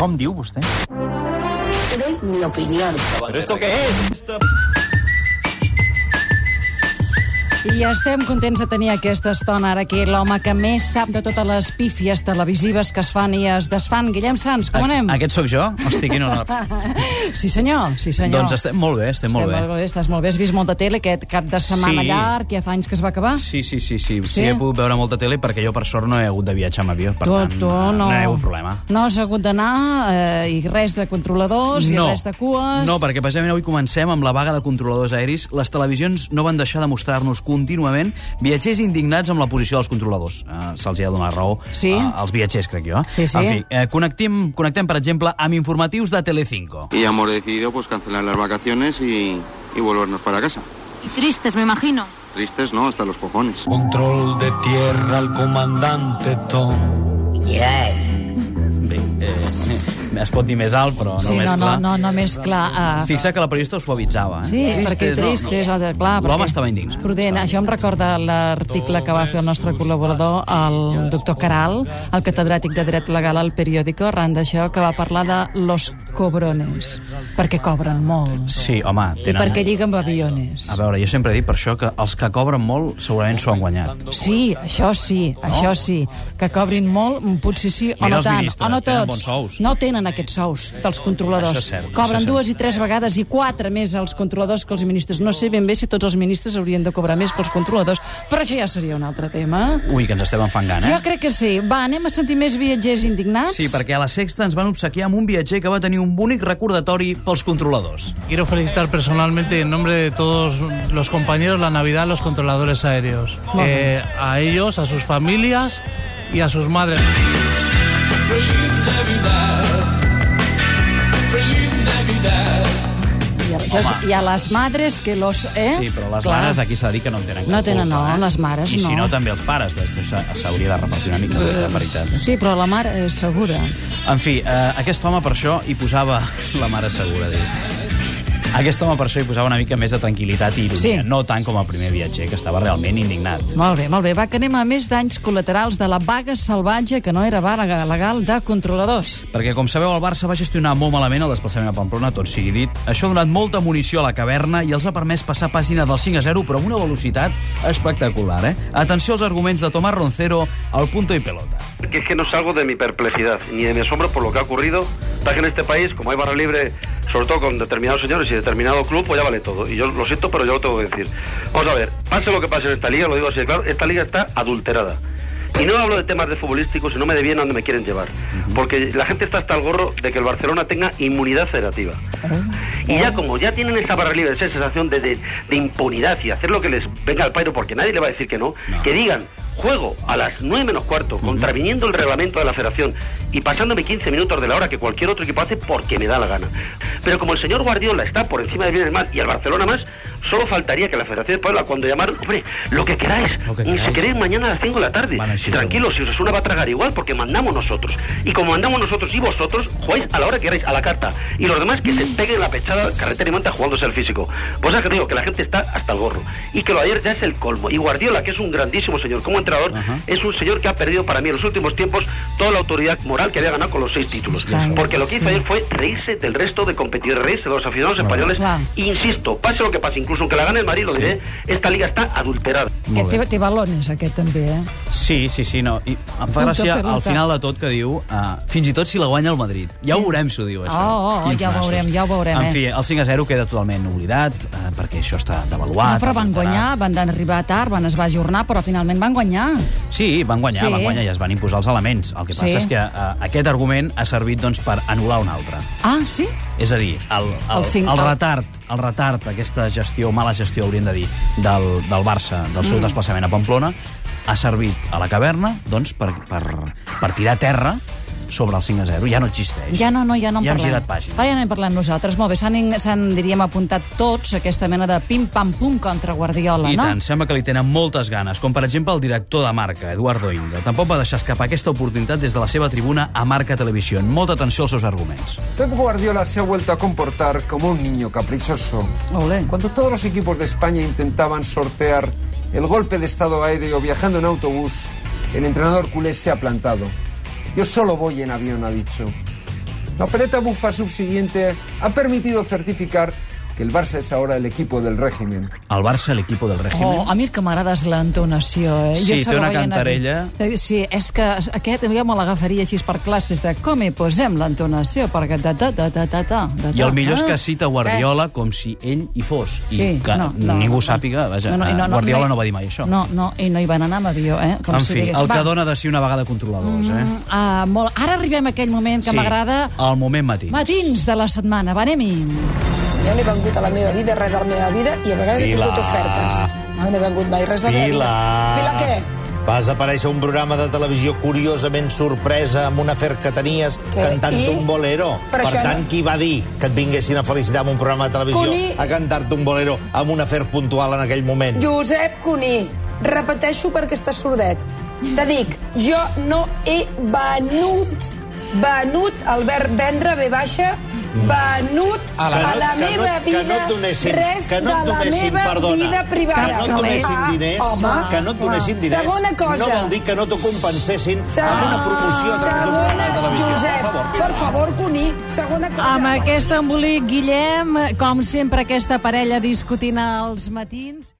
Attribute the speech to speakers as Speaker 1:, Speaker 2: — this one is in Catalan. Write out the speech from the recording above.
Speaker 1: Com diu vostè?
Speaker 2: Te doy mi opinión.
Speaker 3: ¿Pero esto qué es?
Speaker 4: I estem contents de tenir aquesta estona ara aquí l'home que més sap de totes les pífies televisives que es fan i es desfan. Guillem Sans, com anem?
Speaker 5: Aquest sóc jo? Hosti, quin honor.
Speaker 4: Sí senyor, sí senyor.
Speaker 5: doncs estem molt bé, estem, molt
Speaker 4: Estem
Speaker 5: bé.
Speaker 4: Estàs molt bé, has vist molta tele aquest cap de setmana
Speaker 5: Sí.
Speaker 4: llarg, ja fa anys que es va acabar.
Speaker 5: Sí, sí, sí, sí, sí. he pogut veure molta tele perquè jo, per sort, no he hagut de viatjar amb avió. Per
Speaker 4: tu,
Speaker 5: tant, eh,
Speaker 4: tu, no,
Speaker 5: no hi ha hagut problema.
Speaker 4: No has hagut d'anar eh, i res de controladors i res de cues.
Speaker 5: No, perquè precisament avui comencem amb la vaga de controladors aeris. Les televisions no van deixar de mostrar-nos contínuament viatgers indignats amb la posició dels controladors. Uh, Se'ls hi ha donat raó
Speaker 4: Sí.
Speaker 5: eh, als viatgers, crec jo. eh?
Speaker 4: Sí, sí.
Speaker 5: En fi, eh, connectem, connectem, per exemple, amb informatius de Telecinco.
Speaker 6: Y hemos decidido pues cancelar las vacaciones y, y volvernos para casa.
Speaker 7: Y tristes, me imagino.
Speaker 6: Tristes, ¿no? Hasta los cojones.
Speaker 8: Control de tierra al comandante Tom.
Speaker 5: Bé, eh, es pot dir més alt, però
Speaker 4: sí,
Speaker 5: no més
Speaker 4: no, no,
Speaker 5: clar.
Speaker 4: no, no més clar. eh,
Speaker 5: Fixa que la periodista ho suavitzava. Eh?
Speaker 4: Sí, perquè tristes, no, no. clar.
Speaker 5: L'home
Speaker 4: perquè
Speaker 5: estava indignat.
Speaker 4: és Prudent, això em recorda l'article que va fer el nostre col·laborador, el doctor Caral, el catedràtic de dret legal al periòdico, arran d'això, que va parlar de los cobrones, perquè cobren molt.
Speaker 5: Sí, home,
Speaker 4: I
Speaker 5: tenen... Ah,
Speaker 4: perquè lliguen amb aviones.
Speaker 5: A veure, jo sempre he dit per això que els que cobren molt segurament s'ho han guanyat.
Speaker 4: Sí, això sí, això sí. Que cobrin molt, mm, potser sí, o
Speaker 5: Mira
Speaker 4: no
Speaker 5: els
Speaker 4: tant,
Speaker 5: ministres,
Speaker 4: o no
Speaker 5: tenen
Speaker 4: tots.
Speaker 5: bons sous.
Speaker 4: No tenen aquests sous dels controladors.
Speaker 5: Això és cert, això
Speaker 4: Cobren
Speaker 5: és cert.
Speaker 4: dues i tres vegades i quatre més els controladors que els ministres. No sé ben bé si tots els ministres haurien de cobrar més que els controladors, però això ja seria un altre tema.
Speaker 5: Ui, que ens estem enfangant, eh?
Speaker 4: Jo crec que sí. Va, anem a sentir més viatgers indignats?
Speaker 5: Sí, perquè a la sexta ens van obsequiar amb un viatger que va tenir un bonic recordatori pels controladors.
Speaker 9: Quiero felicitar personalmente en nombre de todos los compañeros la Navidad a los controladores aéreos. Eh, a ellos, a sus familias y a sus madres.
Speaker 4: I, a, això és, I a les madres que los... Eh?
Speaker 5: Sí, però les
Speaker 4: Clar.
Speaker 5: mares aquí s'ha de dir que no en tenen
Speaker 4: No
Speaker 5: cap
Speaker 4: tenen,
Speaker 5: culpa,
Speaker 4: no,
Speaker 5: eh?
Speaker 4: les mares
Speaker 5: I si
Speaker 4: no.
Speaker 5: no, també els pares. Doncs això s'hauria de repartir una mica de paritat.
Speaker 4: Sí, però la mare és segura.
Speaker 5: En fi, eh, aquest home per això hi posava la mare segura, diu. Aquest home per això hi posava una mica més de tranquil·litat i ironia,
Speaker 4: Sí.
Speaker 5: no tant com el primer viatger, que estava realment indignat.
Speaker 4: Molt bé, molt bé. Va, que anem a més danys col·laterals de la vaga salvatge, que no era vaga legal, de controladors.
Speaker 5: Perquè, com sabeu, el Barça va gestionar molt malament el desplaçament a Pamplona, tot sigui dit. Això ha donat molta munició a la caverna i els ha permès passar pàgina del 5 a 0, però amb una velocitat espectacular, eh? Atenció als arguments de Tomás Roncero al punto y pelota.
Speaker 10: Que es que no salgo de mi perplejidad ni de mi asombro por lo que ha ocurrido. Está que en este país, como hay barra libre, sobre todo con determinados señores y determinado club, pues ya vale todo. Y yo lo siento, pero yo lo tengo que decir. Vamos a ver, pase lo que pase en esta liga, lo digo así, de claro, esta liga está adulterada. Y no hablo de temas de futbolísticos, sino me de bien a donde me quieren llevar. Porque la gente está hasta el gorro de que el Barcelona tenga inmunidad federativa. Y ya como ya tienen esa barra libre, esa sensación de, de- de impunidad y hacer lo que les venga al pairo, porque nadie le va a decir que no, que digan, juego a las 9 menos cuarto, contraviniendo el reglamento de la federación y pasándome 15 minutos de la hora que cualquier otro equipo hace porque me da la gana. Pero como el señor Guardiola está por encima del bien y del mal y al Barcelona más, solo faltaría que la Federación Española cuando llamaron, hombre, lo que queráis,
Speaker 5: Lo que
Speaker 10: ni
Speaker 5: queráis.
Speaker 10: si queréis mañana a las 5 de la tarde,
Speaker 5: Bueno, sí,
Speaker 10: tranquilos, si os Osasuna va a tragar igual porque mandamos nosotros. Y como mandamos nosotros y vosotros, jugáis a la hora que queráis, a la carta. Y los demás que se peguen la pechada carretera y manta jugándose el físico. Pues ya que digo que la gente está hasta el gorro. Y que lo de ayer ya es el colmo. Y Guardiola, que es un grandísimo señor como entrenador, es un señor que ha perdido para mí en los últimos tiempos toda la autoridad moral que había ganado con los seis títulos.
Speaker 4: Está bien,
Speaker 10: Porque lo que hizo
Speaker 4: sí.
Speaker 10: ayer fue reírse del resto de competidores, reírse de los aficionados españoles.
Speaker 4: Claro.
Speaker 10: Insisto, pase lo que pase, incluso aunque la gane el Madrid, lo diré, esta liga está adulterada.
Speaker 4: Que té, té balones, aquest, també, eh?
Speaker 5: Sí, sí, sí, no. I em fa
Speaker 4: Punto
Speaker 5: gràcia
Speaker 4: pelota.
Speaker 5: al final de tot que diu uh, fins i tot si la guanya el Madrid. Ja ho veurem si ho diu, això.
Speaker 4: Oh, oh,
Speaker 5: Quins
Speaker 4: ja ho
Speaker 5: nassos.
Speaker 4: veurem, ja ho veurem, eh?
Speaker 5: En fi, el 5 a 0 queda totalment oblidat, uh, perquè això està devaluat.
Speaker 4: no, però van
Speaker 5: adulterat.
Speaker 4: guanyar, van arribar tard, van es va ajornar, però finalment van guanyar.
Speaker 5: Sí, van guanyar,
Speaker 4: Sí.
Speaker 5: sí. van guanyar i es van imposar els elements. El que passa
Speaker 4: Sí.
Speaker 5: és que eh, aquest argument ha servit doncs, per anul·lar un altre.
Speaker 4: Ah, sí?
Speaker 5: És a dir, el, el,
Speaker 4: El
Speaker 5: el,
Speaker 4: cinc-
Speaker 5: el
Speaker 4: el-
Speaker 5: retard, el retard, aquesta gestió, mala gestió, hauríem de dir, del, del Barça, del
Speaker 4: Mm.
Speaker 5: seu desplaçament a Pamplona, ha servit a la caverna doncs, per, per, per tirar terra sobre el 5 a 0. Ja no existeix.
Speaker 4: Ja no, no, ja no en
Speaker 5: Ja hem
Speaker 4: parlem.
Speaker 5: girat pàgina.
Speaker 4: Ara ja n'hem parlat nosaltres. Molt bé, s'han, in- s'han, diríem, apuntat tots aquesta mena de pim-pam-pum contra Guardiola,
Speaker 5: I
Speaker 4: no?
Speaker 5: tant, sembla que li tenen moltes ganes, com per exemple el director de marca, Eduardo Inda. Tampoc va deixar escapar aquesta oportunitat des de la seva tribuna a Marca Televisió. Molta atenció als seus arguments.
Speaker 8: Pep Guardiola se ha vuelto a comportar como un niño caprichoso.
Speaker 4: Olé.
Speaker 8: Cuando todos los equipos de España intentaban sortear el golpe de estado aéreo viajando en autobús, el entrenador culé se ha plantado. Yo solo voy en avión, ha dicho. La opereta bufa subsiguiente ha permitido certificar que el Barça es ahora el equipo del régimen.
Speaker 5: El Barça, l'equipo del règim.
Speaker 4: Oh, a mi el que m'agrada és l'entonació, eh?
Speaker 5: Sí,
Speaker 4: se
Speaker 5: té
Speaker 4: la
Speaker 5: una
Speaker 4: veia anar bé.
Speaker 5: cantarella.
Speaker 4: Eh, Sí, és que aquest jo me l'agafaria així per classes de com hi posem l'entonació, perquè ta ta ta ta ta ta. ta,
Speaker 5: I el millor és
Speaker 4: Ah, eh,
Speaker 5: que cita Guardiola com si ell hi fos. I que ningú sàpiga, vaja,
Speaker 4: i
Speaker 5: Guardiola
Speaker 4: i-
Speaker 5: no va dir mai això.
Speaker 4: No, no, i no hi van anar amb avió, eh? Com
Speaker 5: En
Speaker 4: si
Speaker 5: fi,
Speaker 4: digués,
Speaker 5: el
Speaker 4: va,
Speaker 5: que dona de si una vegada controladors, eh?
Speaker 4: mm, Ah, molt... Ara arribem a aquell moment que m'agrada...
Speaker 5: El moment matí.
Speaker 4: Matins de la setmana, va, anem-hi.
Speaker 2: Jo n'he vengut a la meva vida, res de la meva vida, i a vegades he
Speaker 1: Pilar.
Speaker 2: tingut ofertes. Ah, No n'he vengut mai res de la meva vida.
Speaker 1: Pilar.
Speaker 2: Pilar, què?
Speaker 1: Vas aparèixer a un programa de televisió curiosament sorpresa amb un afer que tenies
Speaker 2: Què?
Speaker 1: cantant
Speaker 2: I?
Speaker 1: un bolero.
Speaker 2: Però
Speaker 1: per
Speaker 2: això
Speaker 1: tant,
Speaker 2: no-
Speaker 1: qui va dir que et vinguessin a felicitar amb un programa de televisió
Speaker 2: Cuni.
Speaker 1: a cantar-te un bolero amb un afer puntual en aquell moment?
Speaker 2: Josep Cuní, repeteixo perquè estàs sordet. Te dic, jo no he venut, venut, el verb vendre, ve baixa,
Speaker 1: Mm.
Speaker 2: venut a la,
Speaker 1: Que no- que no-
Speaker 2: meva
Speaker 1: que
Speaker 2: vida
Speaker 1: no et donessin-
Speaker 2: res
Speaker 1: que no et
Speaker 2: de la
Speaker 1: donessin,
Speaker 2: meva
Speaker 1: perdona,
Speaker 2: vida privada.
Speaker 1: que no et donessin
Speaker 2: Ah,
Speaker 1: diners,
Speaker 2: home,
Speaker 1: que no et donessin diners,
Speaker 2: Segona cosa.
Speaker 1: no vol dir que no t'ho compensessin amb una promoció a través d'un
Speaker 2: Segona-
Speaker 1: programa de televisió.
Speaker 2: Josep,
Speaker 1: Per favor, Pilar.
Speaker 2: per favor, Cuní, segona cosa.
Speaker 4: Amb aquest embolic, Guillem, com sempre, aquesta parella discutint als matins...